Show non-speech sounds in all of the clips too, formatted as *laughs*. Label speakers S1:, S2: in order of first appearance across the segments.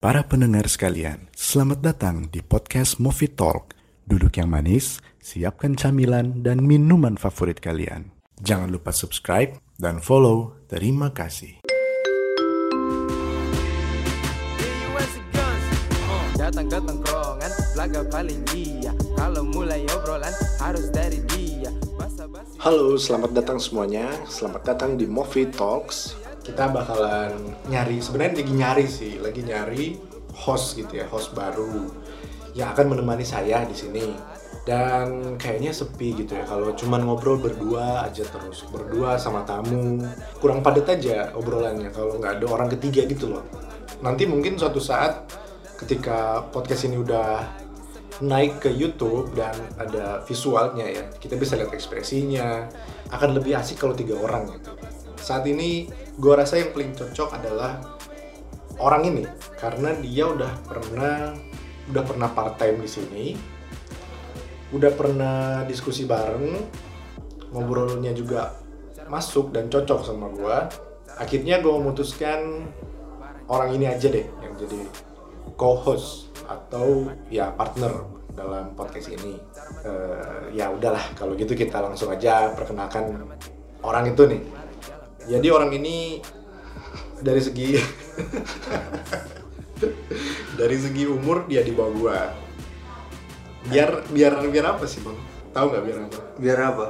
S1: Para pendengar sekalian, selamat datang di podcast Movie Talk. Duduk yang manis, siapkan camilan dan minuman favorit kalian. Jangan lupa subscribe dan follow. Terima kasih.
S2: Datang ke tongkrongan, laga paling iya Kalau mulai obrolan, harus dari dia Basa-basi
S1: Halo, selamat datang semuanya. Selamat datang di Movie Talks. Kita bakalan nyari, sebenarnya lagi nyari sih, lagi nyari host gitu ya, host baru yang akan menemani saya di sini. Dan kayaknya sepi gitu ya kalau cuman ngobrol berdua aja terus, berdua sama tamu. Kurang padat aja obrolannya kalau nggak ada orang ketiga gitu loh. Nanti mungkin suatu saat ketika podcast ini udah naik ke YouTube dan ada visualnya ya. Kita bisa lihat ekspresinya. Akan lebih asik kalau tiga orang gitu. Saat ini gua rasa yang paling cocok adalah orang ini karena dia udah pernah udah pernah part time di sini. Udah pernah diskusi bareng. Ngobrolnya juga masuk dan cocok sama gua. Akhirnya gua memutuskan orang ini aja deh yang jadi co-host atau ya partner dalam podcast ini. Eh, ya udahlah kalau gitu kita langsung aja perkenalkan orang itu nih. Jadi orang ini dari segi *laughs* dari segi umur dia di bawah gua. Biar biar biar apa sih bang? Tahu nggak biar apa?
S3: Biar apa?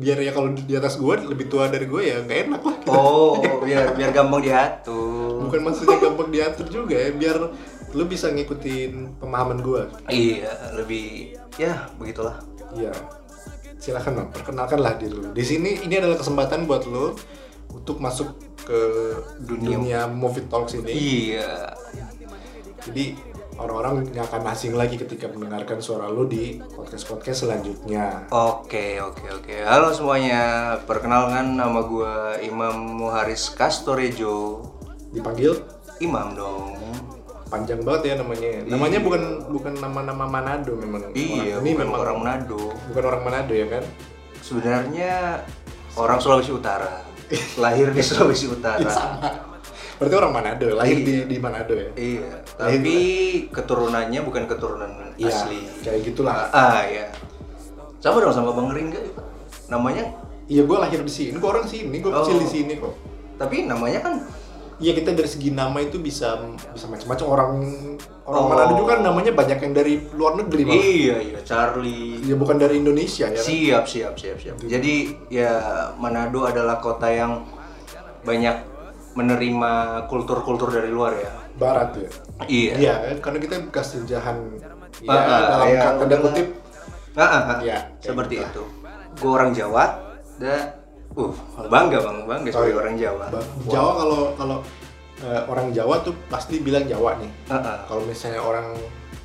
S1: Biar ya kalau di atas gua lebih tua dari gua ya nggak enak lah. kita.
S3: Oh, biar biar gampang diatur.
S1: Bukan maksudnya gampang diatur juga ya. Biar lu bisa ngikutin pemahaman gua.
S3: Iya, lebih ya begitulah.
S1: Iya. Silakan Bang, perkenalkanlah diri lu. Di sini ini adalah kesempatan buat lu untuk masuk ke dunia,
S3: Dunia.
S1: movie talks ini.
S3: Iya.
S1: Jadi orang-orang nggak akan asing lagi ketika mendengarkan suara lu di podcast-podcast selanjutnya.
S3: Oke, oke, oke. Halo semuanya. Perkenalkan nama gua Imam Muharis Kastorejo.
S1: Dipanggil
S3: Imam dong.
S1: panjang banget ya namanya. Namanya bukan bukan nama-nama Manado memang.
S3: Iya,
S1: orang ini
S3: bukan
S1: memang
S3: orang Manado.
S1: bukan orang Manado ya kan?
S3: Sebenarnya orang Sulawesi Utara. Lahir di Sulawesi
S1: Iya,
S3: Utara.
S1: Berarti orang Manado, lahir di di Manado ya.
S3: Iya, tapi keturunannya bukan keturunan
S1: gitu Iya,
S3: asli.
S1: kayak gitulah.
S3: Ah, iya. Sama dong sama Bang Ringga. Namanya
S1: Iya, gue lahir di sini, gue orang sini, gue kecil
S3: Oh.
S1: di sini kok.
S3: tapi namanya kan
S1: Iya kita dari segi nama itu bisa bisa macam-macam orang orang
S3: Oh.
S1: Manado juga kan namanya banyak yang dari luar negeri malah.
S3: Iya, iya, Charlie.
S1: Ya bukan dari Indonesia ya. kan?
S3: Siap, siap, siap, siap. Jadi ya Manado adalah kota yang banyak menerima kultur-kultur dari luar ya.
S1: Barat ya.
S3: Iya.
S1: Iya, karena kita bekas jajahan ya,
S3: Ah, ah,
S1: dalam
S3: ya,
S1: kata
S3: udahlah.
S1: kutip
S3: Ah, ah, ah.
S1: Iya, kayak
S3: seperti
S1: gitu.
S3: itu. Gue orang Jawa, da uh bangga bang bangga
S1: Oh,
S3: sebagai
S1: iya.
S3: orang Jawa.
S1: Ba- Jawa kalau kalau eh, orang Jawa tuh pasti bilang Jawa nih.
S3: Ah, ah.
S1: Kalau misalnya orang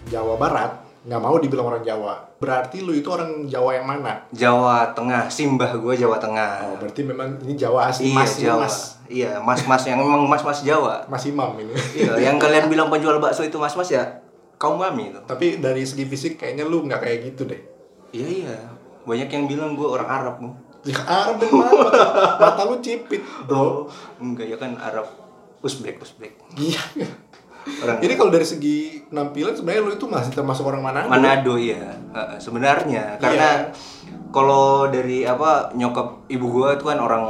S1: Jawa Barat nggak mau dibilang orang Jawa. Berarti lu itu orang Jawa yang mana?
S3: Jawa Tengah, simbah gue Jawa Tengah.
S1: Oh, berarti memang ini Jawa asli
S3: iya,
S1: mas, ini
S3: Jawa.
S1: mas,
S3: Iya, mas-mas yang memang mas-mas Jawa.
S1: mas Imam ini.
S3: *laughs*
S1: *laughs*
S3: Iya, yang kalian bilang penjual bakso itu mas-mas ya kaum kami itu.
S1: Tapi dari segi fisik kayaknya lu nggak kayak gitu deh.
S3: Iya iya, banyak yang bilang gue orang Arab Bu.
S1: Ya Arab dan mata, mata lu cipit bro
S3: Enggak ya kan Arab Uzbek Uzbek.
S1: Iya
S3: Orang
S1: Jadi kalau dari segi penampilan sebenarnya lu itu masih termasuk orang Manado
S3: Manado ya
S1: Iya.
S3: Heeh, sebenarnya karena kalau dari apa nyokap ibu gue itu kan orang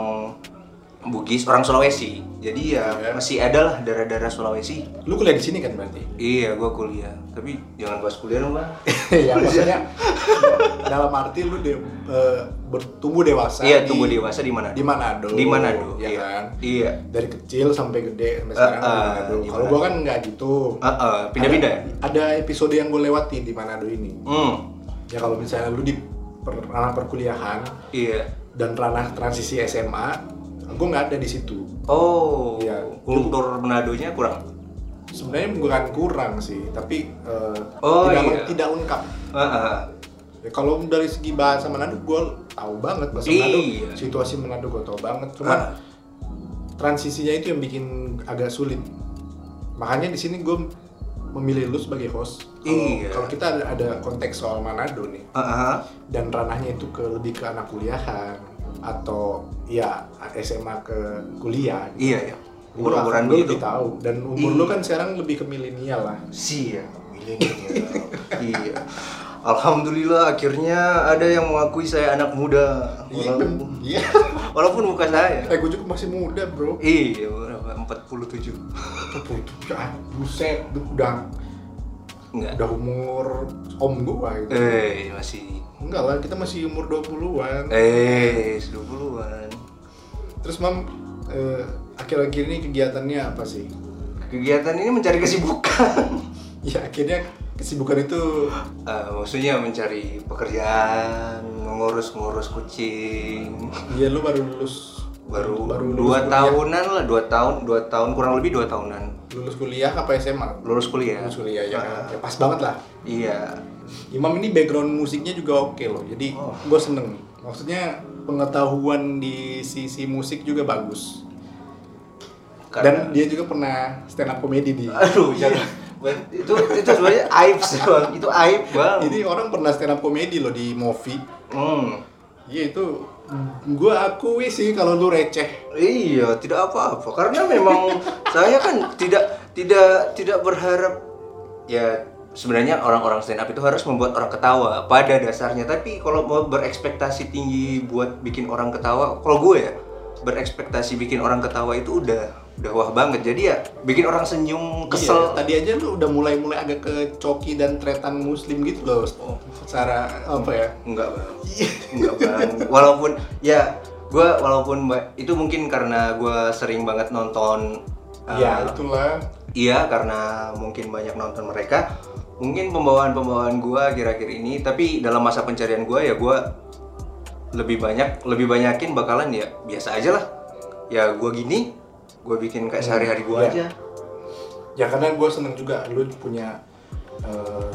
S3: Bugis, orang Sulawesi. Jadi ya
S1: Iya.
S3: masih ada lah daerah-daerah Sulawesi.
S1: Lu kuliah di sini kan berarti? *laughs*
S3: Iya, gue kuliah. Tapi jangan bahas kuliah dong, Bang.
S1: ya maksudnya dalam arti lu de, eh, bertumbuh dewasa
S3: Iya,
S1: di-
S3: tumbuh dewasa di mana?
S1: di Manado
S3: Di Manado,
S1: ya
S3: iya.
S1: kan?
S3: Iya.
S1: Dari kecil sampai gede sampai sekarang di
S3: Eh, eh,
S1: Manado
S3: di
S1: Kalau gua kan nggak gitu
S3: Eh, eh, pindah-pindah ya?
S1: Ada episode yang gue lewati di Manado ini
S3: Hmm.
S1: Ya kalau misalnya lu di per- ranah perkuliahan
S3: Iya.
S1: dan ranah transisi SMA gue nggak ada di situ
S3: Oh,
S1: Iya.
S3: kultur Manadonya kurang.
S1: sebenarnya bukan kurang sih tapi eh,
S3: Oh,
S1: tidak
S3: iya.
S1: tidak lengkap
S3: Eh, eh.
S1: ya, kalau dari segi bahasa Manado gue tahu banget bahasa
S3: Iya.
S1: Manado situasi Manado gue tahu banget cuman
S3: Ah.
S1: transisinya itu yang bikin agak sulit makanya di sini gue memilih lu sebagai host. Kalau-
S3: Iya.
S1: Kalau kita ada, ada konteks soal Manado nih
S3: Heeh.
S1: dan ranahnya itu ke lebih ke anak kuliahan atau ya SMA ke kuliah. gitu.
S3: Iya ya.
S1: Lu akan-
S3: Ukuran-ukuran
S1: lu
S3: begitu.
S1: lebih tahu dan umur
S3: gitu. Iya.
S1: lu kan sekarang lebih ke milenial lah.
S3: Siap.
S1: Milenial.
S3: *laughs* iya. Alhamdulillah akhirnya ada yang mengakui saya anak muda.
S1: Iya.
S3: Walaupun,
S1: Iya.
S3: walaupun bukan saya.
S1: Eh gue juga masih muda, Bro.
S3: Iya, berapa? 47.
S1: Ya, buset, udah
S3: Enggak.
S1: udah umur om gua gitu.
S3: Eh, masih
S1: Enggak lah, kita masih umur 20-an.
S3: eh 20-an.
S1: Terus Mam, eh, akhir-akhir ini kegiatannya apa sih? *laughs*
S3: Kegiatan ini mencari kesibukan. *laughs*
S1: Ya akhirnya kesibukan itu
S3: Eh, maksudnya mencari pekerjaan, mengurus-ngurus kucing.
S1: ya lu baru lulus
S3: Baru,
S1: lulus kuliah.
S3: dua tahunan lah, dua tahun, dua tahun kurang lebih dua tahunan
S1: Lulus kuliah apa SMA?
S3: lulus kuliah.
S1: Lulus kuliah ya, kan?
S3: Ah,
S1: ya pas banget lah.
S3: Iya.
S1: Imam ini background musiknya juga oke loh. Jadi
S3: Oh.
S1: gue seneng. Maksudnya pengetahuan di sisi musik juga bagus. Dan dia juga pernah stand up comedy di.
S3: aduh jangan Ba-
S1: Iya.
S3: itu itu sebenarnya aib sih bang itu aib bang
S1: Jadi orang pernah stand up comedy loh di Movi.
S3: hmm.
S1: Iya itu gue akui sih kalau lu receh.
S3: iya tidak apa-apa karena memang saya kan tidak tidak tidak berharap ya sebenarnya orang-orang stand up itu harus membuat orang ketawa pada dasarnya tapi kalau mau berekspektasi tinggi buat bikin orang ketawa kalau gue ya berekspektasi bikin orang ketawa itu udah udah wah banget jadi ya bikin orang senyum
S1: Kesel.
S3: kesel
S1: Iya, tadi aja lu udah mulai-mulai agak ke coki dan tretan muslim gitu loh.
S3: Oh.
S1: Secara apa ya?
S3: Enggak bang, enggak bang. Walaupun ya gue walaupun ba- itu mungkin karena gue sering banget nonton. uh,
S1: ya itulah.
S3: Iya karena mungkin banyak nonton mereka. Mungkin pembawaan-pembawaan gue akhir-akhir ini. Tapi dalam masa pencarian gue ya gue lebih banyak lebih banyakin bakalan ya biasa aja lah. Ya gue gini, gue bikin kayak sehari-hari gue
S1: Iya.
S3: aja.
S1: Ya karena gue seneng juga lu punya eh,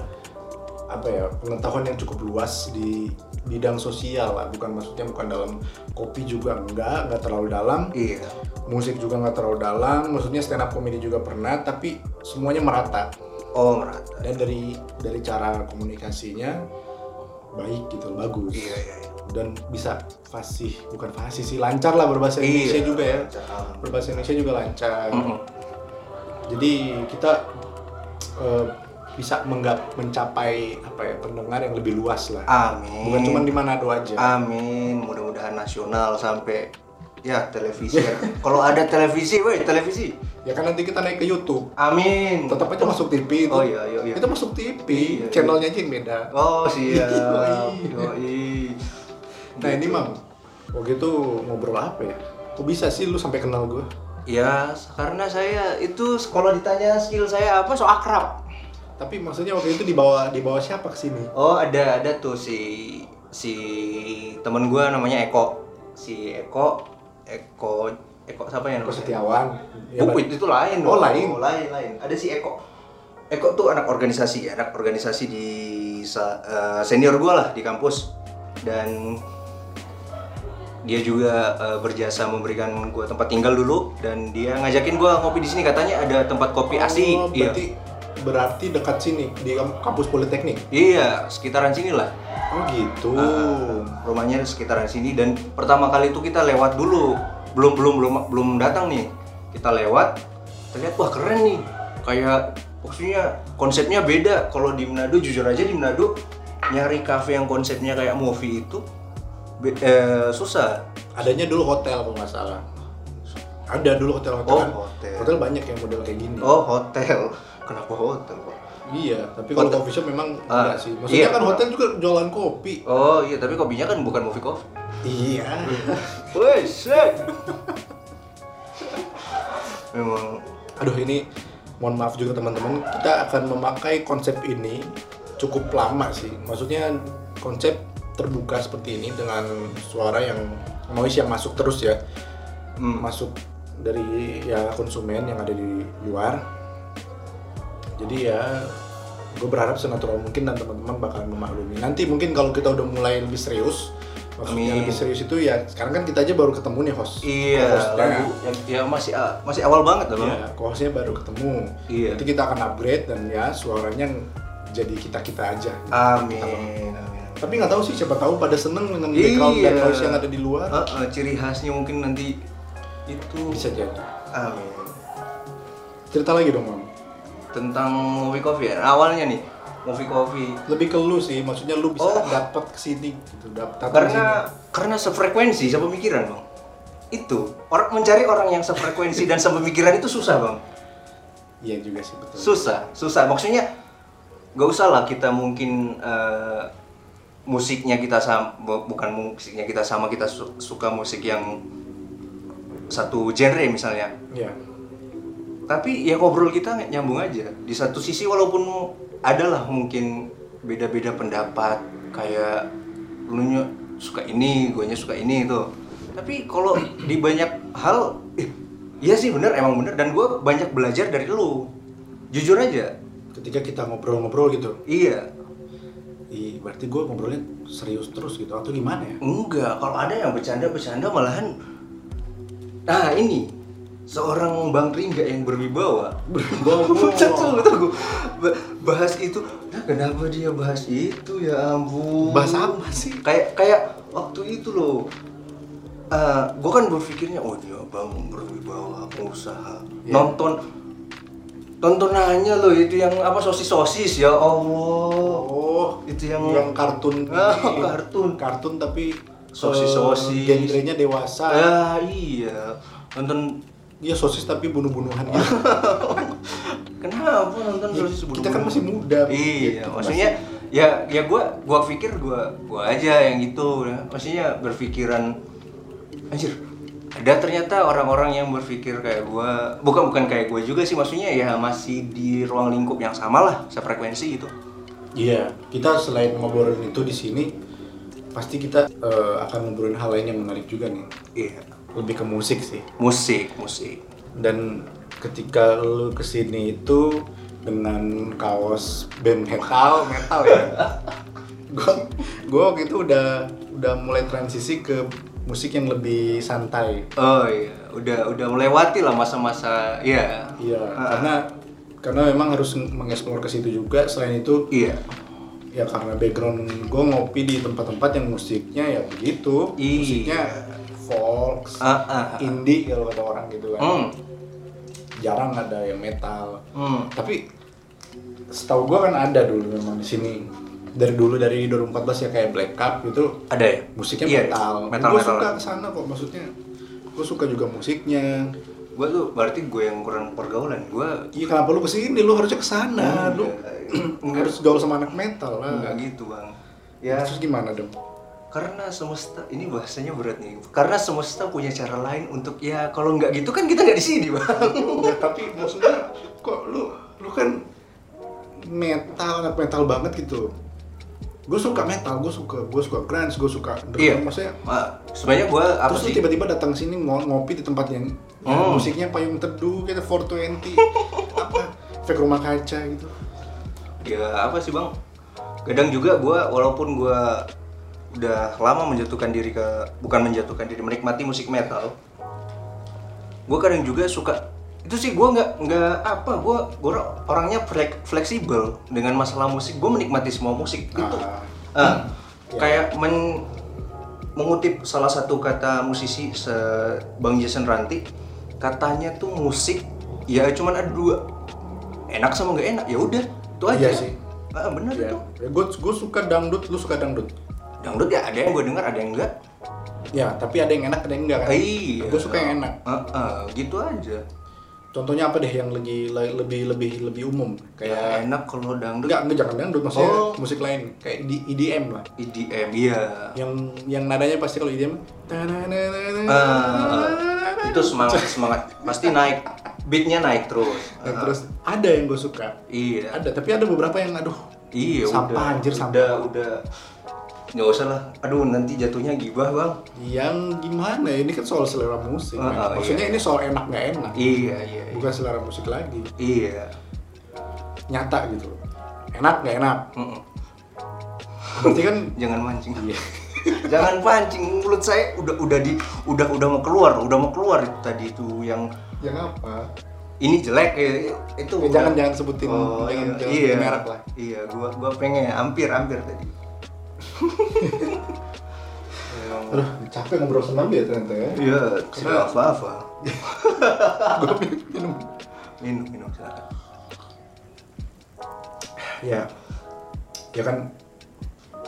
S1: apa ya pengetahuan yang cukup luas di bidang sosial lah. Bukan maksudnya bukan dalam kopi juga enggak, enggak terlalu dalam.
S3: Iya.
S1: Musik juga nggak terlalu dalam. Maksudnya stand up comedy juga pernah, tapi semuanya merata.
S3: Oh merata.
S1: dan dari dari cara komunikasinya baik gitu bagus
S3: Iya iya. iya.
S1: dan bisa fasih bukan fasih sih lancar lah berbahasa
S3: Iya.
S1: Indonesia juga ya
S3: Lancar.
S1: berbahasa Indonesia juga lancar
S3: Mm-mm.
S1: jadi kita eh, bisa menggap, mencapai apa ya pendengar yang lebih luas lah
S3: Amin.
S1: bukan cuma di Manado aja
S3: Amin, mudah-mudahan nasional sampai ya televisi. Kalau ada televisi, woi televisi.
S1: ya kan nanti kita naik ke YouTube
S3: Amin.
S1: tetap aja masuk TV itu
S3: Oh iya iya iya.
S1: itu masuk TV
S3: Iya, iya.
S1: channelnya aja yang beda
S3: Oh siap.
S1: *laughs* Yoi.
S3: Yoi.
S1: nah
S3: gitu.
S1: ini mam waktu itu ngobrol apa ya kok bisa sih lu sampai kenal gue
S3: Ya, karena saya itu sekolah ditanya skill saya apa so akrab.
S1: Tapi maksudnya waktu itu dibawa dibawa siapa ke sini?
S3: Oh, ada ada tuh si si teman gua namanya Eko. Si Eko Eko Eko siapa ya?
S1: Eko
S3: namanya?
S1: Setiawan. Ya,
S3: Pupit itu lain.
S1: Oh,
S3: dong.
S1: lain.
S3: lain, lain. Ada si Eko. Eko tuh anak organisasi, ya, anak organisasi di sa- eh, senior gua lah di kampus. Dan dia juga eh, berjasa memberikan gua tempat tinggal dulu dan dia ngajakin gua ngopi di sini katanya ada tempat
S1: Bang.
S3: kopi asik.
S1: Oh,
S3: iya.
S1: berarti berarti dekat sini di kamp- kampus politeknik.
S3: Iya, sekitaran sini lah.
S1: Oh gitu.
S3: Rumahnya sekitaran sini dan pertama kali itu kita lewat dulu. Belum belum belum belum datang nih. Kita lewat, terlihat wah keren nih. Kayak maksudnya konsepnya beda. Kalau di Manado jujur aja di Manado nyari kafe yang konsepnya kayak movie itu be- eh, susah.
S1: Adanya dulu hotel kalau nggak salah. Ada dulu hotel-hotel.
S3: Oh,
S1: kan?
S3: hotel.
S1: banyak yang model kayak gini.
S3: Oh, hotel. *laughs* Kenapa hotel, Pak?
S1: Iya, tapi kalau
S3: Hotel.
S1: coffee shop memang
S3: Ah,
S1: enggak sih. Maksudnya
S3: iya.
S1: kan hotel juga jualan kopi.
S3: Oh iya, tapi kopinya kan bukan movie coffee.
S1: Iya.
S3: Woi, shit. Memang
S1: *laughs* Aduh ini mohon maaf juga teman-teman, kita akan memakai konsep ini cukup lama sih. Maksudnya konsep terbuka seperti ini dengan suara yang noise yang masuk terus ya.
S3: hmm,
S1: Masuk dari ya konsumen yang ada di luar. Jadi ya gue berharap senatural mungkin dan teman-teman bakal memaklumi. Nanti mungkin kalau kita udah mulai lebih serius, maksudnya
S3: Amin.
S1: lebih serius itu ya sekarang kan kita aja baru ketemu nih host
S3: Iya,
S1: Co-hostnya.
S3: lagu yang ya masih masih awal banget loh.
S1: Iya, co-hostnya baru ketemu
S3: Iya.
S1: nanti kita akan upgrade dan ya suaranya jadi kita kita aja
S3: Amin.
S1: tapi nggak tahu sih siapa tahu pada seneng dengan background dan
S3: Iya.
S1: noise yang ada di luar
S3: Eh, eh, ciri khasnya mungkin nanti itu
S1: bisa jadi
S3: Amin.
S1: cerita lagi dong mam
S3: Tentang movie coffee ya. Awalnya nih, movie coffee.
S1: lebih ke lu sih maksudnya lu bisa
S3: Oh.
S1: dapat kesini gitu dapat
S3: Karena karena sefrekuensi sepemikiran, Bang. Itu orang mencari orang yang sefrekuensi dan sepemikiran itu susah, Bang.
S1: iya juga sih betul
S3: susah susah maksudnya gak usah lah kita mungkin eh, musiknya kita sama bukan musiknya kita sama kita su- suka musik yang satu genre misalnya
S1: Iya.
S3: tapi ya ngobrol kita nyambung aja di satu sisi walaupun adalah mungkin beda-beda pendapat kayak lu ny- suka ini guanya suka ini itu tapi kalau di banyak hal eh, iya sih bener emang bener dan gua banyak belajar dari lu jujur aja
S1: ketika kita ngobrol-ngobrol gitu
S3: iya
S1: Ih, berarti gue ngobrolnya serius terus gitu atau gimana
S3: *laughs*
S1: ya?
S3: enggak kalau ada yang bercanda-bercanda malahan nah ini seorang Bang Ringga yang berwibawa
S1: *laughs* Berwibawa.
S3: Pucat tuh, betul gua. Ba- bahas itu nah kenapa dia bahas itu ya ampun
S1: Bahas apa sih?
S3: kayak kayak waktu itu loh Eh, gue kan berpikirnya oh dia bang berwibawa pengusaha
S1: Iya.
S3: nonton tontonannya loh itu yang apa sosis sosis ya Allah
S1: Oh,
S3: itu yang
S1: yang
S3: *laughs*
S1: kartun
S3: Ah,
S1: ini.
S3: kartun.
S1: kartun tapi
S3: Sosis-sosis.
S1: eh, genrenya dewasa.
S3: ah iya nonton
S1: Iya sosis tapi bunuh-bunuhan
S3: *laughs*
S1: gitu.
S3: kenapa nonton
S1: Ya,
S3: sosis
S1: kita kan
S3: buru-buru?
S1: masih muda.
S3: iya
S1: gitu.
S3: maksudnya ya ya gua gua pikir gua gua aja yang gitu ya. maksudnya berpikiran anjir ada ternyata orang-orang yang berpikir kayak gua bukan bukan kayak gua juga sih maksudnya ya masih di ruang lingkup yang sama lah sefrekuensi gitu
S1: Iya, kita selain ngobrolin itu di sini pasti kita eh, akan ngobrolin hal lain yang menarik juga nih.
S3: iya
S1: Lebih ke musik sih.
S3: musik musik
S1: dan ketika lu kesini itu dengan kaos band metal metal
S3: *laughs*
S1: ya gua gua waktu itu udah udah mulai transisi ke musik yang lebih santai
S3: oh iya udah udah melewati lah masa-masa ya
S1: iya
S3: Ah,
S1: karena karena memang harus mengeksplor ke situ juga selain itu
S3: iya
S1: ya karena background gua ngopi di tempat-tempat yang musiknya ya begitu
S3: Iya.
S1: musiknya folk
S3: Ah, ah, ah.
S1: indie kalau kata orang gitu kan
S3: hmm
S1: jarang ada yang metal
S3: hmm
S1: tapi setahu gua kan ada dulu memang di sini dari dulu dari 2014 ya kayak Black Cup gitu
S3: ada ya
S1: musiknya
S3: Iya,
S1: metal,
S3: metal
S1: gue
S3: metal
S1: suka kesana kok maksudnya gue suka juga musiknya
S3: gue tuh berarti gue yang kurang pergaulan gue
S1: iya kenapa lu kesini lu harusnya kesana Nah, lu
S3: Iya. enggak
S1: harus gaul sama anak metal lah
S3: enggak gitu bang ya
S1: terus gimana dong
S3: karena semesta ini bahasanya berat nih karena semesta punya cara lain untuk ya kalau nggak gitu kan kita nggak di sini bang
S1: ya, tapi maksudnya kok lu lu kan metal anak metal banget gitu gue suka metal gue suka gue suka grunge gue suka underground.
S3: Iya.
S1: maksudnya
S3: Ma, sebenarnya gue apa
S1: Iya. Terus lu
S3: sih
S1: tiba-tiba datang sini ngo- ngopi di tempat yang yang
S3: Hmm.
S1: musiknya payung teduh gitu *laughs* 420 apa efek rumah kaca gitu.
S3: ya apa sih bang kadang juga gue walaupun gue udah lama menjatuhkan diri ke bukan menjatuhkan diri menikmati musik metal gue kadang juga suka itu sih gue nggak nggak apa gue gue orangnya flek- fleksibel dengan masalah musik gue menikmati semua musik itu
S1: Ah.
S3: Ah, kayak men- mengutip salah satu kata musisi se- Bang Jason Ranti katanya tuh musik ya cuman ada dua enak sama nggak enak ya udah itu aja
S1: Iya sih.
S3: Ah, bener
S1: Ya,
S3: itu
S1: gue gue suka dangdut, lu suka dangdut.
S3: dangdut ya ada yang gue dengar ada yang enggak
S1: Ya, tapi ada yang enak, ada yang enggak kan.
S3: iya
S1: Gue suka yang enak.
S3: Ah, ah, gitu aja
S1: Contohnya apa deh yang lagi le- lebih lebih lebih umum
S3: ya
S1: kayak
S3: enak kalau dangdut
S1: enggak enggak jangan dangdut maksudnya
S3: Oh.
S1: musik lain kayak di EDM lah.
S3: EDM iya
S1: Yang yang nadanya pasti kalau E EDM
S3: Ah, itu semangat semangat pasti naik beatnya naik terus Ah,
S1: Dan terus ada yang gue suka.
S3: iya
S1: Ada, tapi ada beberapa yang aduh
S3: Iya,
S1: Sampah,
S3: udah,
S1: anjir,
S3: udah,
S1: sampah.
S3: udah. Nggak usah lah. Aduh, nanti jatuhnya gibah, Bang.
S1: yang gimana ya? ini kan soal selera musik kan?
S3: Ah, ah,
S1: maksudnya
S3: iya.
S1: ini soal enak nggak enak
S3: Iya, iya. iya.
S1: bukan selera musik lagi
S3: Iya.
S1: nyata gitu enak nggak enak
S3: Mm-mm.
S1: berarti kan
S3: Jangan mancing.
S1: iya
S3: *laughs* Jangan pancing mulut saya udah udah di udah udah mau keluar, udah mau keluar itu tadi itu yang
S1: yang apa
S3: ini jelek ya, itu.
S1: Ya, jangan- jangan sebutin- jangan-
S3: Oh, iya,
S1: jangan
S3: iya.
S1: sebutin merek lah.
S3: Iya, gua gua pengen hampir hampir
S1: *laughs*
S3: tadi. Emang-
S1: aduh capek ngobrol senam dia ternyata ya
S3: Iya, sudah apa-apa.
S1: gue minum
S3: Minum minum silakan.
S1: ya ya kan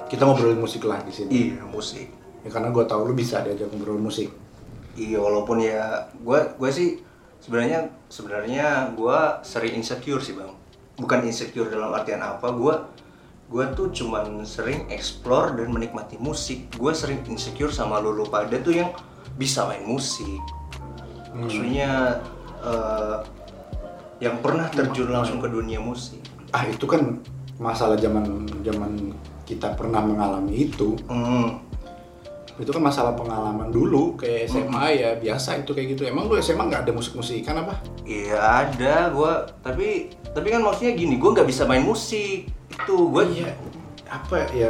S1: kita ngobrolin musik lah di sini
S3: Iya, musik.
S1: ya karena gue tahu lu bisa diajak ngobrol musik
S3: Iya walaupun ya gue gue sih sebenarnya sebenarnya gue sering insecure sih bang. Bukan insecure dalam artian apa gue gue tuh cuman sering explore dan menikmati musik. Gue sering insecure sama lulu pada tuh yang bisa main musik. Hmm. Maksudnya eh, yang pernah ya? terjun langsung ke dunia musik.
S1: ah itu kan masalah zaman zaman kita pernah mengalami itu
S3: Hmm.
S1: itu kan masalah pengalaman dulu kayak SMA ya biasa itu kayak gitu emang lu SMA nggak ada musik musikan apa
S3: Iya ada gue tapi tapi kan maksudnya gini gue nggak bisa main musik itu gue
S1: iya apa ya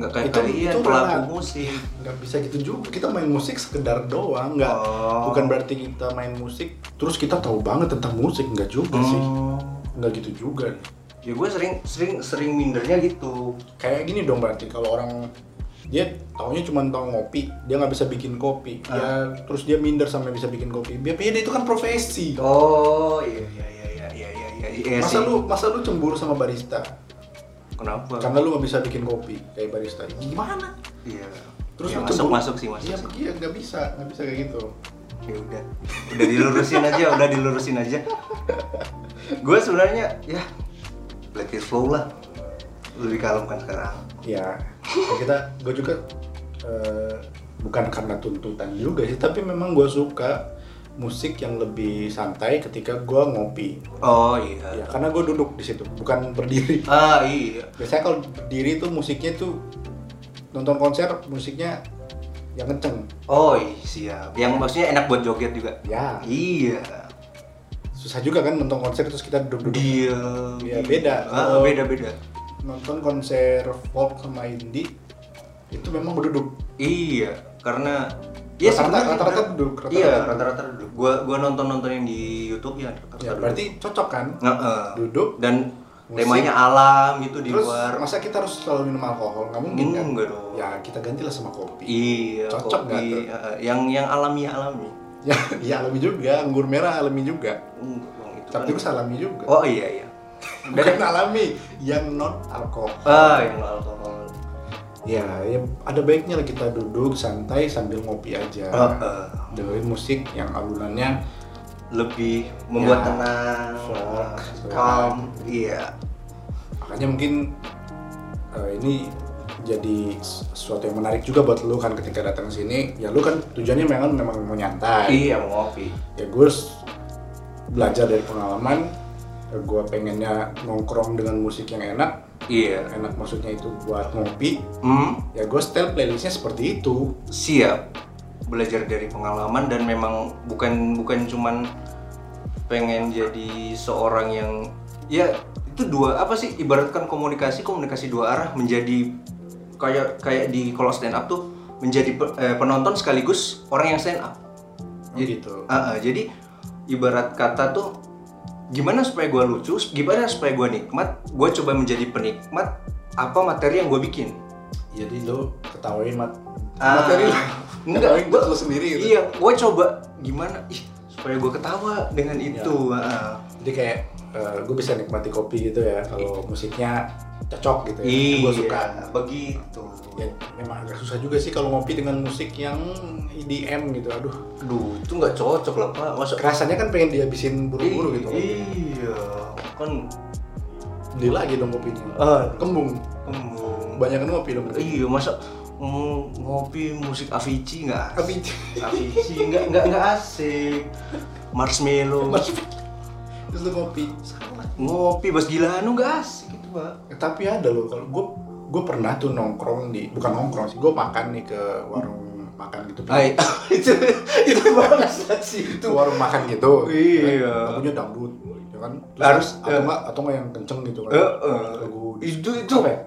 S3: nggak kayak
S1: Itu-
S3: kalian
S1: itu
S3: pelaku
S1: rela.
S3: musik
S1: nggak bisa gitu juga kita main musik sekedar doang nggak
S3: Oh.
S1: bukan berarti kita main musik terus kita tahu banget tentang musik nggak juga Iya sih
S3: Oh.
S1: nggak gitu juga
S3: ya gue sering sering sering mindernya gitu
S1: kayak gini dong berarti kalau orang dia taunya cuma tahu ngopi dia nggak bisa bikin kopi
S3: Ah.
S1: ya terus dia minder sampai bisa bikin kopi dia dia itu kan profesi
S3: oh iya iya iya iya iya iya iya iya
S1: masa
S3: sih.
S1: lu masa lu cemburu sama barista
S3: kenapa
S1: karena lu nggak bisa bikin kopi kayak barista gimana
S3: iya
S1: terus
S3: Ya,
S1: lu
S3: masuk
S1: cemburu.
S3: masuk sih masuk
S1: iya
S3: sih.
S1: iya nggak bisa nggak bisa kayak gitu
S3: ya udah udah dilurusin
S1: *laughs*
S3: aja udah dilurusin aja gue sebenarnya ya let it flow lah lebih kalem kan sekarang
S1: ya ya kita gue juga eh, bukan karena tuntutan juga sih tapi memang gue suka musik yang lebih santai ketika gue ngopi
S3: oh
S1: ya
S3: iya
S1: karena gue duduk di situ bukan berdiri
S3: ah iya
S1: biasanya kalau berdiri tuh musiknya tuh nonton konser musiknya yang kenceng
S3: oh iya siap yang maksudnya enak buat joget juga
S1: ya
S3: iya
S1: susah juga kan nonton konser terus kita duduk-duduk
S3: dia
S1: Ya, beda.
S3: Iya, Ah, beda beda
S1: nonton konser folk sama indie itu memang berduduk
S3: iya karena ya
S1: Rata-rata-
S3: sebenarnya-
S1: rata-rata duduk, rata-rata
S3: iya
S1: duduk.
S3: rata-rata duduk gua gua nonton nontonin di YouTube ya rata-rata
S1: ya
S3: duduk.
S1: berarti cocok kan
S3: Nge-eh.
S1: duduk
S3: dan
S1: musik.
S3: temanya alam gitu di
S1: terus
S3: luar
S1: masa kita harus selalu minum alkohol nggak mungkin
S3: Hmm,
S1: kan
S3: nggak dong.
S1: ya kita gantilah sama kopi
S3: iya
S1: Cocok
S3: kopi,
S1: nggak tuh?
S3: eh, yang yang alami alami
S1: *laughs* ya ya alami juga anggur merah alami juga
S3: Hmm, yang itu
S1: tapi
S3: kan.
S1: gue alami juga
S3: oh iya iya
S1: bukan alami yang non alkohol
S3: ah yang alkohol
S1: Ya, ya ada baiknya lah kita duduk santai sambil ngopi aja.
S3: Heeh.
S1: Dengerin musik yang alunannya
S3: lebih
S1: Ya,
S3: membuat tenang
S1: folk,
S3: calm iya
S1: makanya mungkin eh, ini jadi sesuatu yang menarik juga buat lu kan ketika datang ke sini. Ya lu kan tujuannya memang memang mau nyantai.
S3: iya mau ngopi
S1: Ya gue harus belajar dari pengalaman. Ya, gue pengennya nongkrong dengan musik yang enak.
S3: iya
S1: Enak maksudnya itu buat ngopi.
S3: hmm
S1: Ya gue setel playlistnya seperti itu.
S3: siap belajar dari pengalaman dan memang bukan bukan cuman pengen jadi seorang yang ya itu dua apa sih ibaratkan komunikasi komunikasi dua arah menjadi kayak kayak di kalau stand up tuh menjadi pe- eh, penonton sekaligus orang yang stand up Jadi-
S1: gitu.
S3: Ah, ah, jadi ibarat kata tuh gimana supaya gua lucu gimana supaya gua nikmat gua coba menjadi penikmat apa materi yang gua bikin
S1: Jadi lu ketawain mat
S3: Ah.
S1: materi *laughs* lu.
S3: Enggak,
S1: Ketawain
S3: gua-
S1: buat lu sendiri gitu.
S3: Iya, gue coba gimana ih supaya gue ketawa dengan itu. ah.
S1: Jadi kayak gue bisa nikmati kopi gitu ya kalau musiknya cocok gitu ya.
S3: Iya,
S1: Gue suka.
S3: begitu.
S1: Ya, memang agak susah juga sih kalau ngopi dengan musik yang EDM gitu. Aduh,
S3: Aduh, itu nggak cocok lah pak. Masa
S1: rasanya kan pengen dihabisin buru-buru gitu.
S3: Iya, kan
S1: Beli lagi dong kopinya.
S3: Ah.
S1: Kembung.
S3: kembung.
S1: Kebanyakan ngopi dong.
S3: Iya, masa mm, ngopi musik Avicii nggak?
S1: Tapi
S3: Avicii nggak nggak nggak asik. Marshmallow.
S1: terus lu ngopi.
S3: ngopi bas gila nggak asik itu pak.
S1: Eh, Tapi ada loh kalau gue gue pernah tuh nongkrong di bukan nongkrong sih gue makan nih ke warung makan gitu
S3: Ay, *laughs* itu itu banget sih
S1: itu warung makan gitu
S3: Iya.
S1: lagunya dangdut ya kan
S3: Harus,
S1: atau
S3: iya.
S1: enggak atau enggak yang kenceng gitu kan
S3: Heeh.
S1: lagu
S3: Itu-
S1: apa
S3: itu.
S1: ya?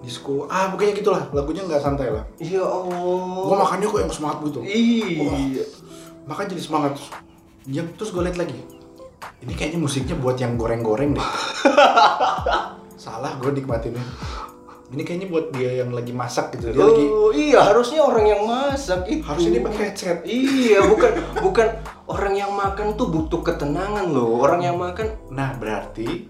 S1: di disco ah pokoknya gitulah lagunya nggak santai lah
S3: Ya Allah.
S1: gua makannya kok yang semangat gitu
S3: Iya.
S1: makan jadi semangat terus dia- terus gue liat lagi ini kayaknya musiknya buat yang goreng-goreng deh salah gue nikmatinnya ini kayaknya buat dia yang lagi masak gitu dia lagi
S3: Oh, iya harusnya orang yang masak itu.
S1: harusnya dia pakai headset
S3: Iya, bukan bukan orang yang makan tuh butuh ketenangan loh. Orang yang makan
S1: nah berarti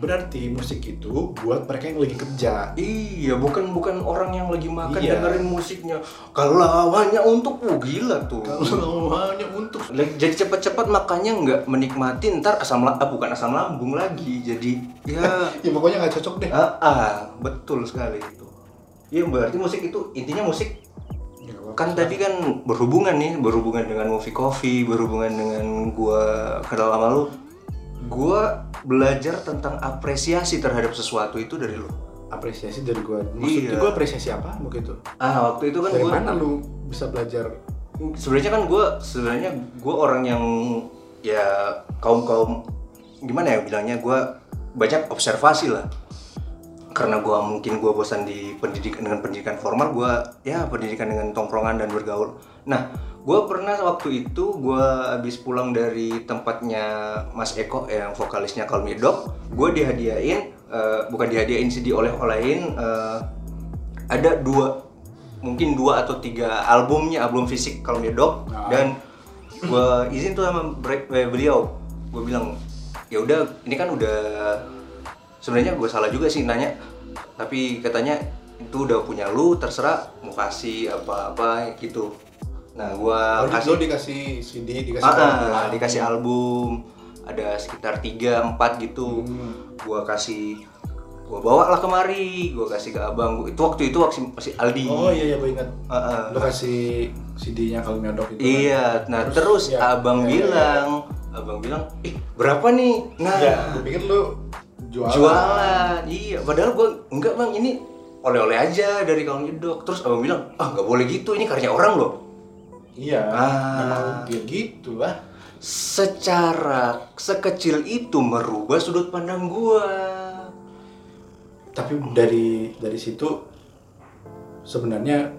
S1: berarti musik itu buat mereka yang lagi kerja
S3: Iya, bukan bukan orang yang lagi makan
S1: Iya.
S3: dengerin musiknya. Kalau hanya untuk oh, gila tuh.
S1: kalau hanya untuk
S3: Lagi- Jadi cepat-cepat makannya nggak menikmati ntar asam la- ah, bukan asam lambung lagi. Jadi ya
S1: ya pokoknya nggak cocok deh
S3: *laughs* ah, ah, betul sekali itu. Iya berarti musik itu intinya musik
S1: Ya, nggak apa-apa.
S3: kan tadi kan berhubungan nih berhubungan dengan movie coffee berhubungan dengan gua kenal sama lu gua belajar tentang apresiasi terhadap sesuatu itu dari lu
S1: apresiasi dari gue maksudnya
S3: Iya.
S1: gue apresiasi apa begitu
S3: ah waktu itu kan
S1: dari
S3: gua
S1: mana lu bisa belajar
S3: sebenarnya kan gua sebenarnya gua orang yang ya kaum kaum gimana ya bilangnya gua banyak observasi lah karena gua mungkin gua bosan di pendidikan dengan pendidikan formal gua ya pendidikan dengan tongkrongan dan bergaul nah gua pernah waktu itu gua habis pulang dari tempatnya Mas Eko yang vokalisnya Call Me Dog gue dihadiahin eh, bukan dihadiahin sih dioleh-olehin eh, ada dua mungkin dua atau tiga albumnya album fisik Call Me Dog
S1: Nah.
S3: dan gua izin tuh sama bre- eh, beliau gue bilang ya udah ini kan udah sebenarnya gue salah juga sih nanya tapi katanya itu udah punya lu terserah mau kasih apa-apa gitu nah gue
S1: Kalau
S3: kasih
S1: lu dikasih CD Oh, dikasih
S3: Ah, ah,
S1: album.
S3: dikasih album ada sekitar 3 4 gitu
S1: Hmm.
S3: gua kasih gua bawa lah kemari gua kasih ke abang gua, itu waktu itu waktu masih Aldi
S1: oh iya iya gue ingat
S3: Ah, ah.
S1: lu kasih CD-nya kalau nyodok itu
S3: Iya, nah terus,
S1: ya,
S3: abang
S1: ya, ya,
S3: bilang, abang bilang, "Ih, berapa nih?" Nah,
S1: ya gue pikir lu jualan,
S3: jualan iya padahal gue enggak bang ini oleh-oleh aja dari kawan jedok terus abang bilang ah nggak boleh gitu ini karya orang loh
S1: iya
S3: Ah.
S1: memang dia gitu lah
S3: secara sekecil itu merubah sudut pandang gua
S1: tapi dari dari situ sebenarnya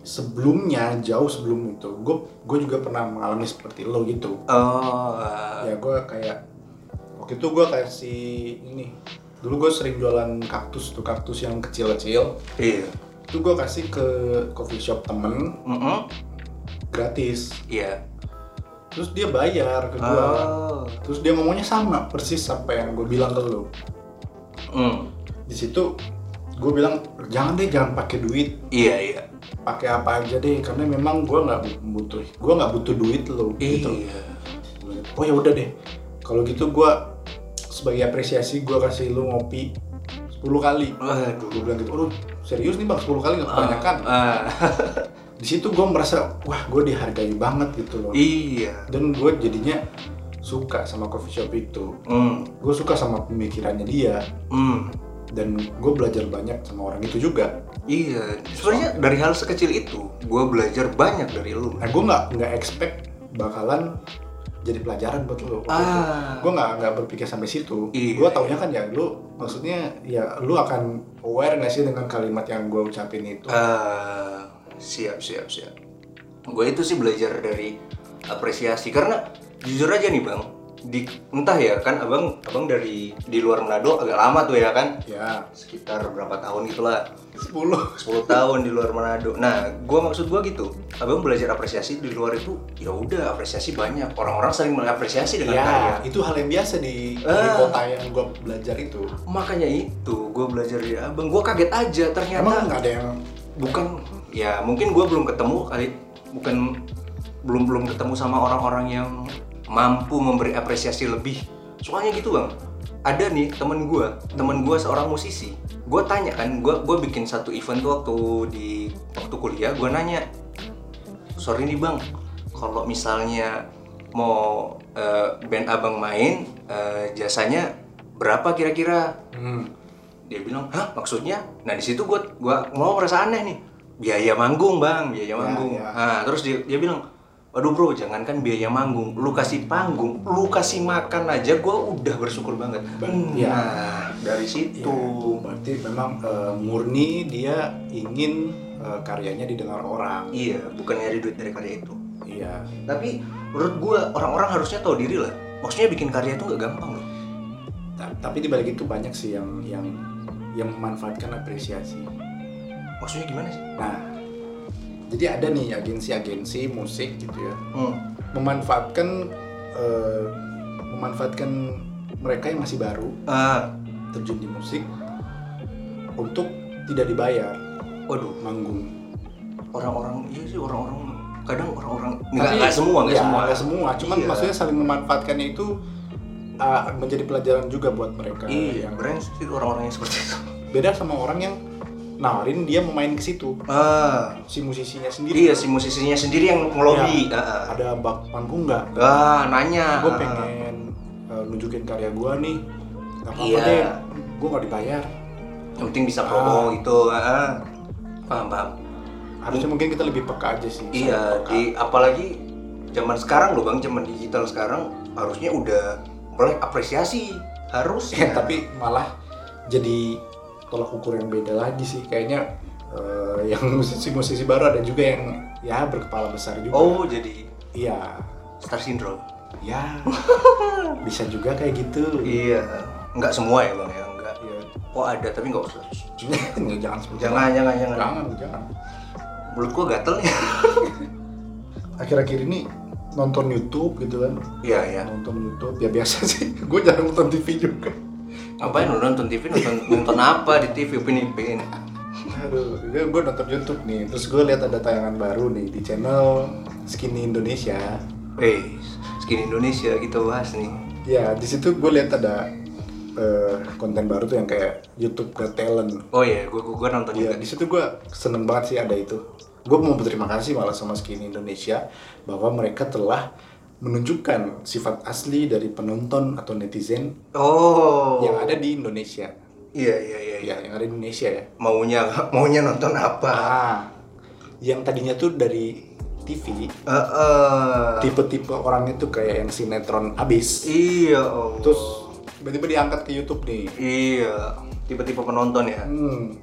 S1: sebelumnya jauh sebelum itu gue gue juga pernah mengalami seperti lo gitu
S3: oh
S1: ya gue kayak waktu itu gue kasih ini dulu gue sering jualan kaktus tuh kaktus yang kecil-kecil
S3: iya
S1: itu gue kasih ke coffee shop temen
S3: Mm-mm.
S1: gratis
S3: iya
S1: terus dia bayar ke gue
S3: oh
S1: terus dia ngomongnya sama persis apa yang gue bilang ke lo
S3: Mm.
S1: di situ gue bilang jangan deh jangan pakai duit
S3: iya iya
S1: pakai apa aja deh karena memang gue nggak butuh gue nggak butuh duit lo gitu
S3: iya
S1: oh ya udah deh kalau gitu gue sebagai apresiasi gue kasih lu ngopi 10 kali
S3: waduh
S1: gue bilang gitu, aduh serius nih bang 10 kali nggak kebanyakan
S3: Ah, ah.
S1: di situ gue merasa wah gue dihargai banget gitu loh
S3: iya
S1: dan gue jadinya suka sama coffee shop itu
S3: mm.
S1: gue suka sama pemikirannya dia
S3: Mm.
S1: dan gue belajar banyak sama orang itu juga
S3: Iya, sebenarnya dari hal sekecil itu, gue belajar banyak dari lu.
S1: nah gue nggak nggak expect bakalan jadi pelajaran buat lo
S3: Ah.
S1: gue nggak nggak berpikir sampai situ
S3: Iya.
S1: gue taunya kan ya lu maksudnya ya lu akan aware nggak sih dengan kalimat yang gue ucapin itu
S3: Ah, siap siap siap. Gue itu sih belajar dari apresiasi karena jujur aja nih bang, di entah ya kan abang abang dari di luar Manado agak lama tuh ya kan,
S1: ya
S3: sekitar berapa tahun gitulah.
S1: *laughs* 10
S3: 10 tahun di luar Manado. Nah, gua maksud gua gitu. Abang belajar apresiasi di luar itu, ya udah apresiasi banyak. Orang-orang sering mengapresiasi dengan karya.
S1: ya itu hal yang biasa di, di
S3: Ah.
S1: kota yang gue belajar itu
S3: Makanya itu, gue belajar dari abang. Gue kaget aja ternyata.
S1: emang nggak ada yang
S3: bukan ya mungkin gue belum ketemu kali bukan belum belum ketemu sama orang-orang yang mampu memberi apresiasi lebih soalnya gitu bang ada nih temen gue temen gue seorang musisi gue tanya kan gue gue bikin satu event tuh waktu di waktu kuliah gue nanya sorry nih bang kalau misalnya mau eh, band abang main eh, jasanya berapa kira-kira
S1: hmm,
S3: dia bilang hah maksudnya nah di situ gua gua mau merasa aneh nih biaya manggung bang biaya manggung
S1: ya.
S3: Nah, terus dia dia bilang waduh bro jangankan biaya manggung lu kasih panggung lu kasih makan aja gua udah bersyukur banget
S1: Ba- ya.
S3: nah dari
S1: Itu
S3: situ
S1: ya, berarti memang eh, murni dia ingin eh, karyanya didengar orang.
S3: iya bukan nyari duit dari karya itu
S1: Iya.
S3: tapi menurut gua orang-orang harusnya tahu diri lah maksudnya bikin karya itu nggak gampang loh
S1: Ta- Tapi di balik itu banyak sih yang yang yang memanfaatkan apresiasi.
S3: maksudnya gimana sih
S1: Nah, jadi ada nih agensi-agensi musik gitu ya,
S3: hmm.
S1: memanfaatkan eh, memanfaatkan mereka yang masih baru
S3: ah
S1: terjun di musik untuk tidak dibayar
S3: waduh
S1: manggung.
S3: orang-orang iya sih orang-orang kadang orang-orang nggak nggak semua nggak
S1: Iya,
S3: semua
S1: nggak semua. Cuman
S3: Iya.
S1: maksudnya saling memanfaatkannya itu ah, menjadi pelajaran juga buat mereka.
S3: iya
S1: Yang
S3: brand sih orang-orang yang seperti itu *laughs*
S1: beda sama orang yang nawarin dia mau main ke situ
S3: ah
S1: si musisinya sendiri.
S3: Iya si musisinya sendiri yang ngelobi. Ah, ah.
S1: Ada bak panggung nggak?
S3: Ah, nanya.
S1: gue
S3: Ah.
S1: pengen uh, nunjukin karya gue nih gak apa-apa
S3: Iya.
S1: deh gue gak dibayar
S3: Yang penting bisa promo
S1: Ah.
S3: gitu. Ah, ah. Paham paham.
S1: harusnya mungkin kita lebih peka aja sih
S3: Iya
S1: sangat peka.
S3: di apalagi zaman sekarang loh bang, zaman digital sekarang harusnya udah boleh apresiasi harus.
S1: *laughs* Eh, tapi malah jadi tolak ukur yang beda lagi sih kayaknya uh, yang *laughs* musisi-musisi baru ada juga yang ya berkepala besar juga
S3: oh jadi
S1: iya
S3: star syndrome. *laughs*
S1: ya bisa juga kayak gitu
S3: Iya. Nggak semua ya bang ya nggak.
S1: Iya.
S3: Oh ada tapi nggak usah.
S1: *laughs* jangan seperti
S3: Jangan
S1: itu.
S3: jangan jangan.
S1: jangan jangan
S3: Mulut gua gatel ya.
S1: akhir-akhir ini nonton YouTube gitu kan
S3: Iya iya.
S1: nonton YouTube ya biasa sih *laughs* gue jarang nonton TV juga
S3: Ngapain lu nonton TV nonton nonton apa di TV pin pin.
S1: Aduh, gue nonton YouTube nih, terus gue lihat ada tayangan baru nih di channel Skinny Indonesia.
S3: Eh, skin Indonesia kita bahas nih.
S1: Ya, di situ gue lihat ada eh, konten baru tuh yang kayak YouTube ke talent.
S3: Oh iya, gua gua, gua nonton
S1: Ya,
S3: juga
S1: di situ gue seneng banget sih ada itu. Gue mau berterima kasih malah sama Skinny Indonesia bahwa mereka telah menunjukkan sifat asli dari penonton atau netizen
S3: Oh.
S1: yang ada di Indonesia.
S3: Iya, iya, iya, iya.
S1: Ya, yang ada di Indonesia ya.
S3: Maunya maunya nonton apa?
S1: Ah, yang tadinya tuh dari TV
S3: Eh, eh.
S1: tipe-tipe orangnya tuh kayak yang sinetron abis
S3: Iya, oh.
S1: terus tiba-tiba diangkat ke YouTube nih
S3: iya, tipe-tipe penonton ya.
S1: hmm.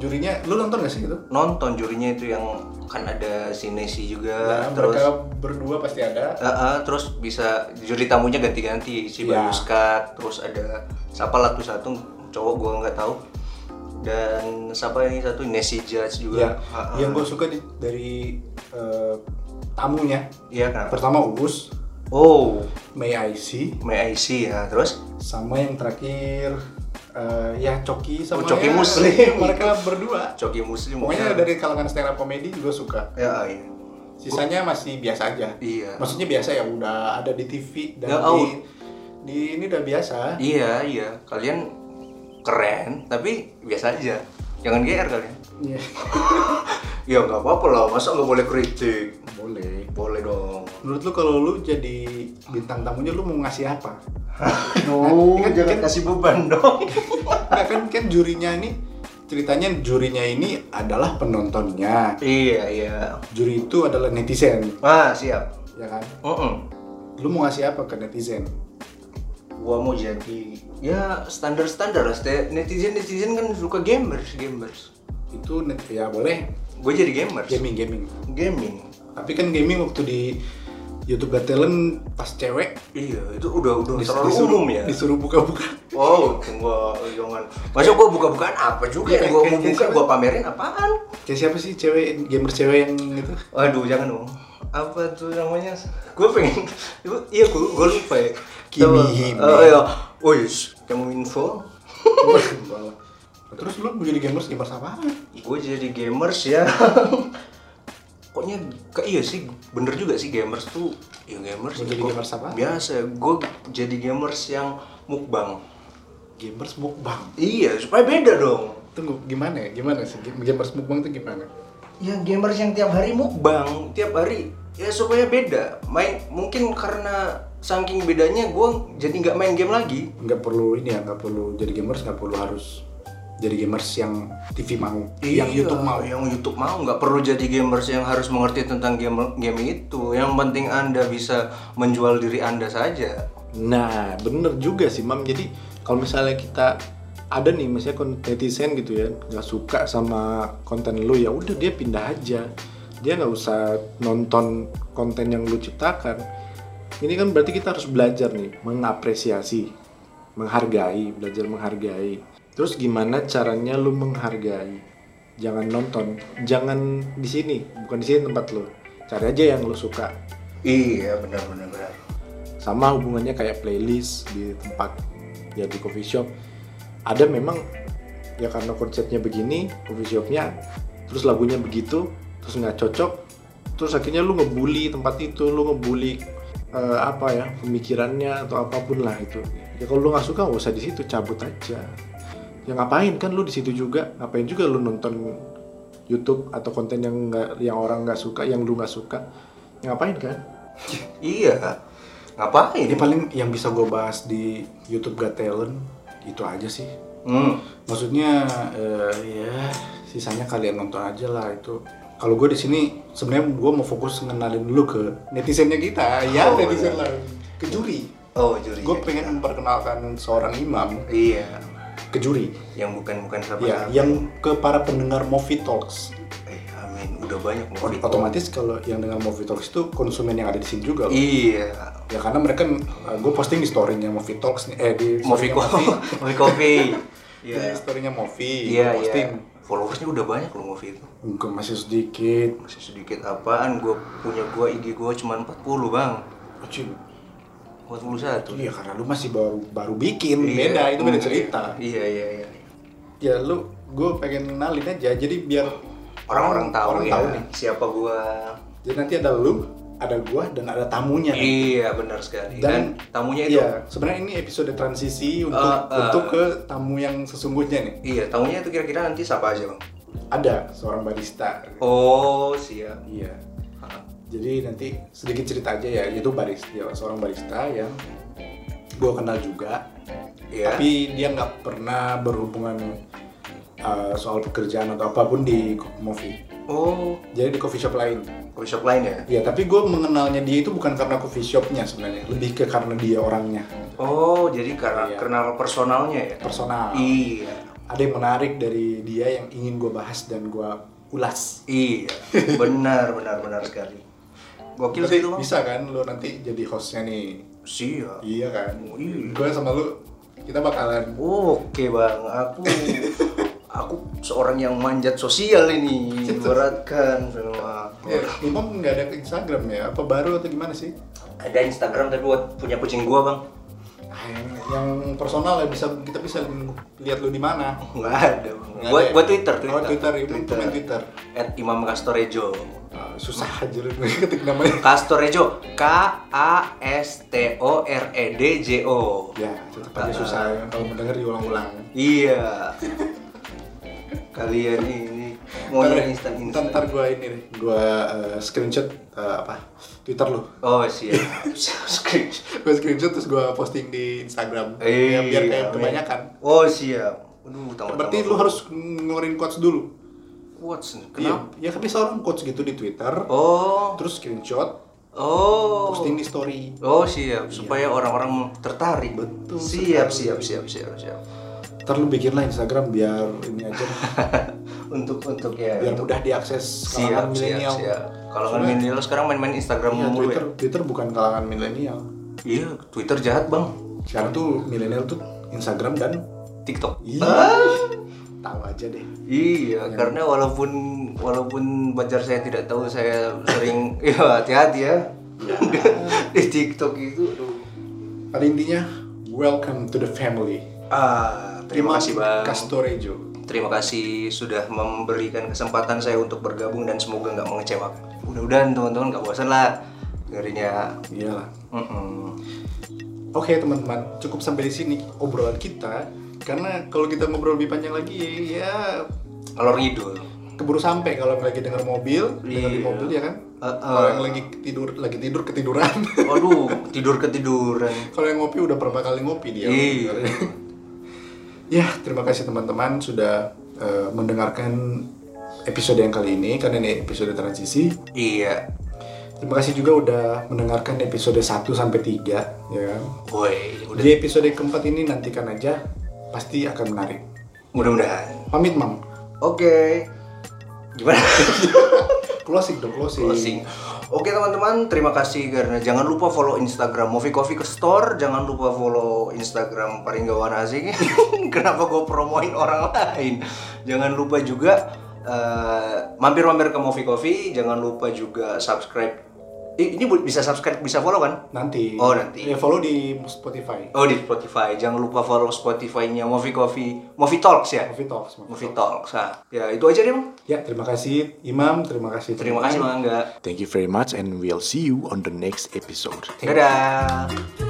S1: jurinya lu nonton gak sih gitu? itu
S3: Nonton jurinya itu yang kan ada sinesi juga,
S1: Nah,
S3: terus
S1: mereka berdua pasti ada
S3: Eh, eh, terus bisa juri tamunya ganti-ganti si
S1: Iya.
S3: Bagus Kat, terus ada siapa lah tuh satu cowok gua nggak tahu dan siapa ini satu Nessie Judge
S1: ya
S3: juga Eh, eh.
S1: yang gue suka di- dari eh, tamunya
S3: Iya kenapa?
S1: pertama Uus
S3: Oh,
S1: May I See
S3: May I see ya. Terus
S1: sama yang terakhir eh, ya Coki sama
S3: Oh, Coki Iya.
S1: ya-
S3: Muslim.
S1: *laughs* mereka berdua
S3: Coki Muslim.
S1: pokoknya
S3: udah-
S1: dari kalangan stand up comedy gue suka
S3: ya iya.
S1: sisanya masih biasa aja
S3: Iya.
S1: maksudnya biasa ya udah ada di TV dan
S3: Ya,
S1: di,
S3: oh.
S1: di ini udah biasa
S3: Iya, iya. Kalian keren, tapi biasa aja. Jangan GR kalian.
S1: Iya.
S3: Ya nggak apa-apa lah, masa nggak boleh kritik?
S1: boleh
S3: Boleh
S1: *laughs*
S3: dong.
S1: menurut lu kalau lu jadi bintang tamunya lu mau ngasih apa
S3: Aduh, jangan kasih beban dong.
S1: Nggak, kan kan jurinya ini ceritanya jurinya ini adalah penontonnya
S3: iya, iya.
S1: juri itu adalah netizen
S3: Ah, siap.
S1: ya kan
S3: Mm-mm.
S1: lu mau ngasih apa ke netizen
S3: Gua mau jadi ya standar-standar lah. Netizen netizen kan suka gamers, gamers.
S1: itu net- ya boleh
S3: Gue jadi gamers.
S1: gaming gaming
S3: Gaming.
S1: tapi kan gaming waktu di YouTube Got Talent pas cewek
S3: Iya, itu udah udah
S1: dis-
S3: terlalu
S1: disuruh-
S3: umum ya.
S1: disuruh buka-buka
S3: Wow, gua jangan. Masa gua buka-bukaan apa juga yang gua
S1: Iya,
S3: mau buka, gua pamerin apaan?
S1: Kayak siapa sih cewek gamer cewek yang *laughs* itu?
S3: Waduh, jangan dong. Apa tuh namanya? Gua pengen *laughs* iya gua, gua lupa ya.
S1: Kimi
S3: Tau-
S1: Hime.
S3: Oh iya. Oh, yes. kamu info?
S1: Terus lu mau jadi gamers gamers apa?
S3: Gua jadi gamers ya. *laughs* Pokoknya ke- iya sih, bener juga sih gamers tuh. Ya gamers.
S1: Mau jadi
S3: gua-
S1: gamers apa?
S3: Biasa, gua jadi gamers yang mukbang.
S1: Gamers mukbang.
S3: Iya, supaya beda dong.
S1: Tunggu gimana ya? Gimana sih Game- gamers mukbang itu gimana?
S3: ya gamers yang tiap hari mukbang tiap hari ya supaya beda main mungkin karena saking bedanya gue jadi nggak main game lagi
S1: Nggak perlu ini ya, nggak perlu jadi gamers nggak perlu harus jadi gamers yang TV mau, yang
S3: Iya,
S1: YouTube mau.
S3: yang YouTube mau nggak perlu jadi gamers yang harus mengerti tentang game game itu yang penting anda bisa menjual diri anda saja
S1: Nah, bener juga sih, Mam. Jadi
S4: kalau misalnya kita ada nih misalnya kon- netizen gitu ya nggak suka sama konten lu ya udah dia pindah aja dia nggak usah nonton konten yang lu ciptakan ini kan berarti kita harus belajar nih mengapresiasi menghargai belajar menghargai terus gimana caranya lu menghargai jangan nonton jangan di sini bukan di sini tempat lu cari aja yang lu suka
S3: Iya benar benar benar.
S4: sama hubungannya kayak playlist di tempat ya di coffee shop ada memang ya karena konsepnya begini coffee shopnya terus lagunya begitu terus nggak cocok terus akhirnya lu ngebully tempat itu lu ngebully eh, apa ya pemikirannya atau apapun lah itu ya kalau lu nggak suka nggak usah di situ cabut aja ya ngapain kan lu di situ juga ngapain juga lu nonton YouTube atau konten yang nggak yang orang nggak suka yang lu nggak suka ya ngapain kan
S3: Iya. Ngapain?
S4: ini paling yang bisa gue bahas di YouTube Got Talent itu aja sih.
S3: Hmm.
S4: Maksudnya eh, ya sisanya kalian nonton aja lah itu. Kalau gue di sini sebenarnya gue mau fokus ngenalin dulu ke netizennya kita, ya
S3: Oh,
S4: netizen
S3: iya.
S4: lah, ke juri.
S3: Oh juri.
S4: Gue pengen memperkenalkan seorang imam
S3: Iya.
S4: ke juri,
S3: Yang bukan bukan siapa.
S4: ya, yang ke para pendengar Movie Talks.
S3: Eh, amin. Udah banyak mau
S4: Ot- Otomatis kalau yang dengar Movie Talks itu konsumen yang ada di sini juga. loh.
S3: Iya.
S4: Ya karena mereka, gue posting di story-nya Movie Talks nih, eh di
S3: Movie
S4: story-nya *laughs*
S3: kopi. Movie kopi. *laughs* Iya.
S4: Iya. story-nya Movi,
S3: Iya iya.
S4: posting.
S3: Followersnya udah banyak loh Movie itu.
S4: Enggak, masih sedikit.
S3: Masih sedikit apaan? Gue punya gue IG gue cuma 40 bang.
S4: Kecil.
S3: 41.
S4: Oh, Iya, karena lu masih baru baru bikin.
S3: Iya.
S4: Beda, itu beda
S3: Hmm,
S4: cerita.
S3: Iya iya iya.
S4: Ya lu, gue pengen kenalin aja. Jadi biar
S3: Orang-orang tahu
S4: orang
S3: ya
S4: tahu nih.
S3: siapa gua.
S4: Jadi nanti ada lu, ada gua, dan ada tamunya. nih.
S3: Iya benar sekali. Dan,
S4: Dan-
S3: tamunya itu
S4: Iya, sebenarnya ini episode transisi untuk
S3: Eh, eh.
S4: untuk ke tamu yang sesungguhnya nih.
S3: Iya, tamunya itu kira-kira nanti siapa aja, Bang?
S4: Ada seorang barista.
S3: Oh, siap.
S4: Iya. Jadi nanti sedikit cerita aja ya, itu barista, ya, seorang barista yang gue kenal juga.
S3: Iya.
S4: Tapi dia nggak pernah berhubungan uh, soal pekerjaan atau apapun di movie.
S3: Oh,
S4: Jadi di coffee shop lain.
S3: coffee shop lain ya?
S4: Ya, tapi gue mengenalnya dia itu bukan karena coffee shopnya sebenarnya, lebih ke karena dia orangnya
S3: Oh, jadi karena
S4: Iya.
S3: karena personalnya ya?
S4: personal.
S3: Iya.
S4: Ada yang menarik dari dia yang ingin gue bahas dan gue ulas. *laughs*
S3: Iya. benar, benar, benar sekali. Gokil
S4: Nanti
S3: sih itu, Bang.
S4: bisa kan lo nanti jadi hostnya nih?
S3: Siap.
S4: Iya kan.
S3: Oh, iya.
S4: Gue sama lu kita bakalan
S3: Oke, Bang. Aku aku seorang yang manjat sosial ini. Beratkan semua.
S4: Ya, Imam nggak ada ke Instagram ya? Apa baru atau gimana sih?
S3: Ada Instagram tapi buat punya kucing gua, Bang.
S4: Ah, yang, yang personal ya bisa kita bisa lihat lu di mana?
S3: Nggak ada, Bang.
S4: Nggak
S3: Gua,
S4: ada ya?
S3: gua Twitter,
S4: Oh,
S3: Twitter.
S4: Twitter, Imam komen Twitter.
S3: At Imam Castorejo.
S4: Ah, susah aja lu *laughs* ketik namanya.
S3: Castorejo K A S T O R E D J O. Nah,
S4: Ya, tetap aja susah ya. Kalau mendengar diulang-ulang.
S3: Iya. Kalian ini mau
S4: Ntar deh,
S3: instan
S4: ntar-
S3: instan.
S4: Ntar gue ini deh, gue screenshot eh, apa Twitter lu.
S3: Oh siap. Screenshot.
S4: Gue screenshot terus gue posting di Instagram. *laughs* Ya,
S3: Iya,
S4: biar kayak
S3: men.
S4: kebanyakan.
S3: Oh siap. Aduh, tambah
S4: Berarti lu harus ngeluarin quotes dulu.
S3: What's kenapa?
S4: Iya, ya kan bisa orang quotes gitu di Twitter.
S3: Oh.
S4: Terus screenshot,
S3: Oh.
S4: posting di story.
S3: Oh siap, supaya orang-orang tertarik.
S4: Iya. Betul
S3: Siap, siap,
S4: sekali.
S3: siap, siap, siap. *laughs*
S4: Ntar lu bikinlah Instagram biar ini aja deh,
S3: untuk untuk ya. *laughs*
S4: biar
S3: untuk-
S4: mudah diakses
S3: siap, siap,
S4: kalangan kan milenial.
S3: siap. Kalau kan
S4: Soalnya-
S3: milenial sekarang main-main Instagram
S4: Iya,
S3: mulu
S4: Twitter,
S3: ya.
S4: Twitter bukan kalangan milenial.
S3: Iya, Twitter jahat bang.
S4: Sekarang tuh milenial tuh Instagram dan
S3: TikTok. Ah,
S4: Ih, tahu aja deh.
S3: Iya, karena walaupun walaupun pacar saya tidak tahu saya sering *laughs* ya hati-hati ya.
S4: Iya.
S3: *laughs* di TikTok itu aduh.
S4: Pada intinya, welcome to the family.
S3: Ah, terima kasih Bang.
S4: Castorejo.
S3: Terima kasih sudah memberikan kesempatan saya untuk bergabung dan semoga nggak mengecewakan. Mudah-mudahan teman-teman nggak bosan lah dengerinnya.
S4: Iyalah.
S3: Mm-mm.
S4: Oke teman-teman, cukup sampai di sini obrolan kita. Karena kalau kita ngobrol lebih panjang lagi, ya
S3: Ngalor
S4: *laughs*
S3: ngidul.
S4: keburu sampai kalau lagi dengar mobil, dengar
S3: Iya.
S4: di mobil ya kan.
S3: Eh, eh.
S4: Kalau yang lagi tidur, lagi tidur ketiduran. *laughs*
S3: Waduh, tidur ketiduran.
S4: kalau yang ngopi udah berapa kali ngopi
S1: *laughs*
S4: dia.
S3: Iya.
S4: ya, terima kasih teman-teman sudah eh, mendengarkan episode yang kali ini karena ini episode transisi.
S3: Iya.
S1: Terima kasih juga udah mendengarkan episode 1 sampai 3 ya. kan?
S3: Woi, udah
S1: Di episode keempat ini nantikan aja pasti akan menarik.
S3: mudah-mudahan.
S1: Pamit Mam.
S3: Oke. Gimana?
S1: Closing dong, closing.
S3: Closing. Oke teman-teman, terima kasih karena jangan lupa follow Instagram Movie Coffee ke store, jangan lupa follow Instagram Paringgawan Asik. *laughs* Kenapa gue promoin orang lain? Jangan lupa juga eh, mampir-mampir ke Movie Coffee, jangan lupa juga subscribe. Eh, ini bu- bisa subscribe, bisa follow kan?
S1: Nanti.
S3: Oh, nanti.
S1: Ya, follow di Spotify.
S3: Oh di Spotify, jangan lupa follow Spotify-nya Movie Coffee, Movie Talks ya.
S1: Coffee Talks. Mam.
S3: Movie Talks. Nah, ya itu aja deh, Bang.
S1: Ya, terima kasih Imam, terima kasih.
S3: Terima kasih, Bang Angga.
S1: Thank you very much and we'll see you on the next episode.
S3: Dadah.